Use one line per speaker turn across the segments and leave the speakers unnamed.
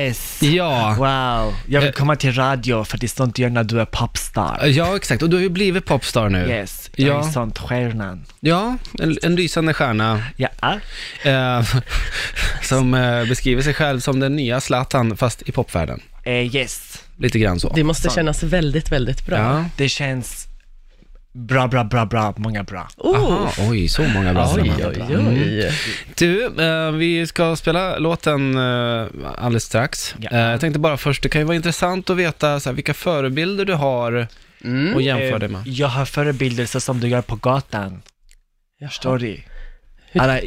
Yes!
Ja. Eh.
Wow, jag vill komma till radio för det är sånt du gör när du är popstar.
Ja, exakt. Och du har ju blivit popstar nu.
Yes, jag
Ja.
är sånt stjärnan.
Ja, en, en lysande stjärna
Ja.
eh, som eh, beskriver sig själv som den nya Zlatan, fast i popvärlden.
Eh, yes,
Lite grann så.
Det måste kännas väldigt, väldigt bra.
Ja.
det känns bra, bra, bra, bra, många bra.
Oh.
Aha, oj, så många bra
Oj,
strömmar.
oj, oj.
Du, eh, vi ska spela låten eh, alldeles strax.
Ja.
Eh, jag tänkte bara först, det kan ju vara intressant att veta så här, vilka förebilder du har
Mm.
och jämföra
Eh,
det med.
Jag har förebilder så som du gör på gatan. Förstår du?
Hur-
Alla,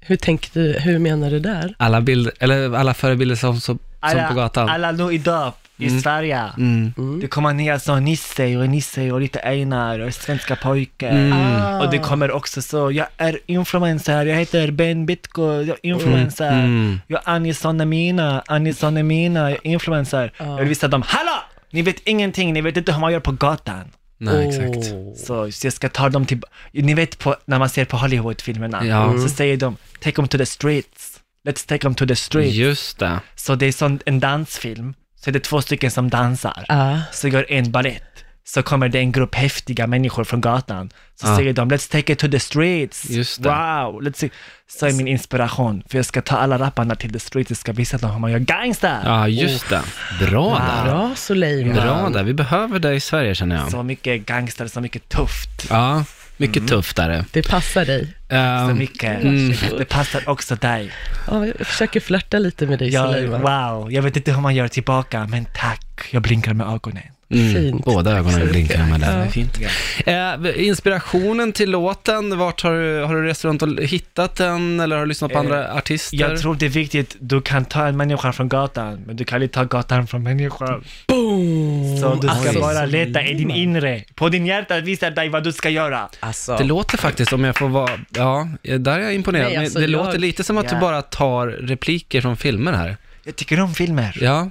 Hur tänkte du, hur menar du där?
Alla, bild, eller alla förebilder som, som, som
alla,
på gatan.
alla nu idag i Sverige.
Mm.
Det kommer ner som Nisse och Nisse och lite Einar och svenska pojkar.
Mm.
Ah.
Och det kommer också så, jag är influencer, jag heter Ben Bitko, jag är influencer.
Mm.
Jag är Anison Amina, Anison Amina, jag är influencer.
Ja.
Jag vill visa dem, hallå! Ni vet ingenting, ni vet inte hur man gör på gatan.
Nej,
Åh.
exakt. Oh.
Så, så jag ska ta dem till, ni vet på, när man ser på Hollywood-filmerna,
Ja. Mm.
så säger de, take them to the streets. Let's take them to the streets.
Just det.
Så det är som en dansfilm, så är det två stycken som dansar
Ah.
så gör en ballett så kommer det en grupp häftiga människor från gatan. Så
Ja.
säger de “Let's take it to the streets”.
Just det.
wow! Let's see. Så är min inspiration, för jag ska ta alla rapparna till the streets, jag ska visa dem hur man gör gangsta.
Ja, just det. Bra där.
Bra Soleiman.
Bra där. Vi behöver dig i Sverige känner jag.
Så mycket gangster, så mycket tufft.
Ja, mycket tufft är det.
Det passar dig.
Så
Ehm,
mycket. Mm. Det passar också dig.
Ja, jag försöker flörta lite med dig
Jag,
Soleiman.
wow, jag vet inte hur man gör tillbaka, men tack. Jag blinkar med ögonen.
mm,
Fint.
båda ögonen blinkar med
Ja.
där. Fint. Eh, inspirationen till låten, vart har du, har du rest runt och hittat den eller har du lyssnat på
Eh,
andra artister?
Jag tror det är viktigt, du kan ta en människa från gatan, men du kan inte ta gatan från människan.
Boom!
Så du ska
Alltså,
bara leta i din
Soleiman.
inre, på din hjärta visar dig vad du ska göra.
Alltså.
Det låter faktiskt, om jag får vara, ja, där är jag imponerad.
Nej,
Men
alltså,
det
jag-
låter lite som att du
Ja.
bara tar repliker från filmer här.
Jag tycker om filmer.
Ja,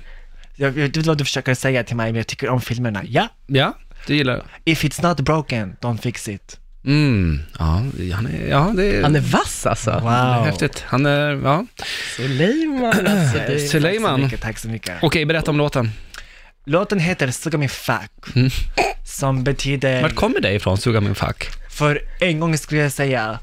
Jag, jag vet inte vad du försöker säga till mig, men jag tycker om filmerna. Ja,
ja, du gillar
if it's not broken, don't fix it.
mm, ja, han är, ja, det är,
Han är vass alltså.
Wow.
det är Mm, häftigt. Han är, ja.
Soleiman alltså.
Tack
Det...
så
Suleiman.
mycket, Tack så mycket.
Okej, berätta om låten.
Låten heter Suga min fuck, som
Mm. Vart
betyder,
kommer det ifrån, Suga min fuck?
för en gång skulle jag säga,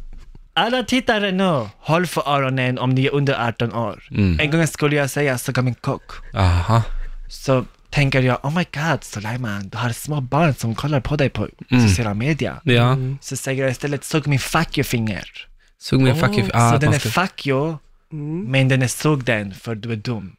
alla tittare nu, håll för öronen om ni är under 18 år.
Mm.
En gång skulle jag säga Suga min kock.
Aha.
så tänker jag, oh my god Sulaiman, du har små barn som kollar på dig på
Mm.
sociala medier.
Ja,
Så säger jag istället, sug min fuck you finger.
sug min fuck you. Ah,
så den
man
är
ska-
fuck you,
Mm.
men den är sug den för du är dum.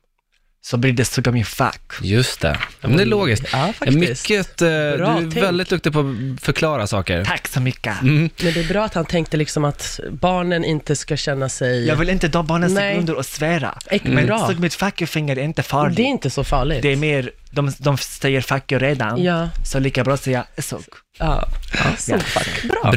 Så blir det suga min fuck.
Just det. Mm. Ja, Men det är logiskt.
Ja, faktiskt.
Mycket, eh, du
Bra
är
tänk.
väldigt duktig på att förklara saker.
Tack så mycket.
Mm.
Men det är bra att han tänkte liksom att barnen inte ska känna sig...
Jag vill inte de barnen
Nej.
sticker under och svära.
Ek- bra.
Men sug mitt fuck you finger är inte farligt.
Det är inte så farligt.
Det är mer, de, de säger fuck you redan,
Ja.
så lika bra att säga sug.
Ja. ja. Så, fuck. Bra.